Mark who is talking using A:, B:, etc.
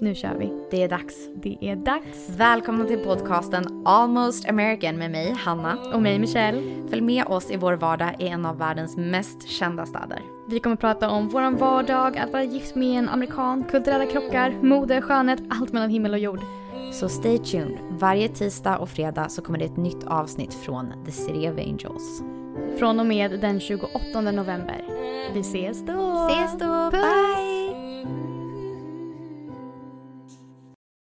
A: Nu kör vi.
B: Det är dags.
A: Det är dags.
B: Välkomna till podcasten Almost American med mig, Hanna.
A: Och mig Michelle.
B: Följ med oss i vår vardag i en av världens mest kända städer.
A: Vi kommer prata om våran vardag, att vara gift med en amerikan, kulturella krockar, mode, skönhet, allt mellan himmel och jord.
B: Så stay tuned. Varje tisdag och fredag så kommer det ett nytt avsnitt från The City of Angels.
A: Från och med den 28 november. Vi ses då!
B: Ses då!
A: Puss!
B: Bye!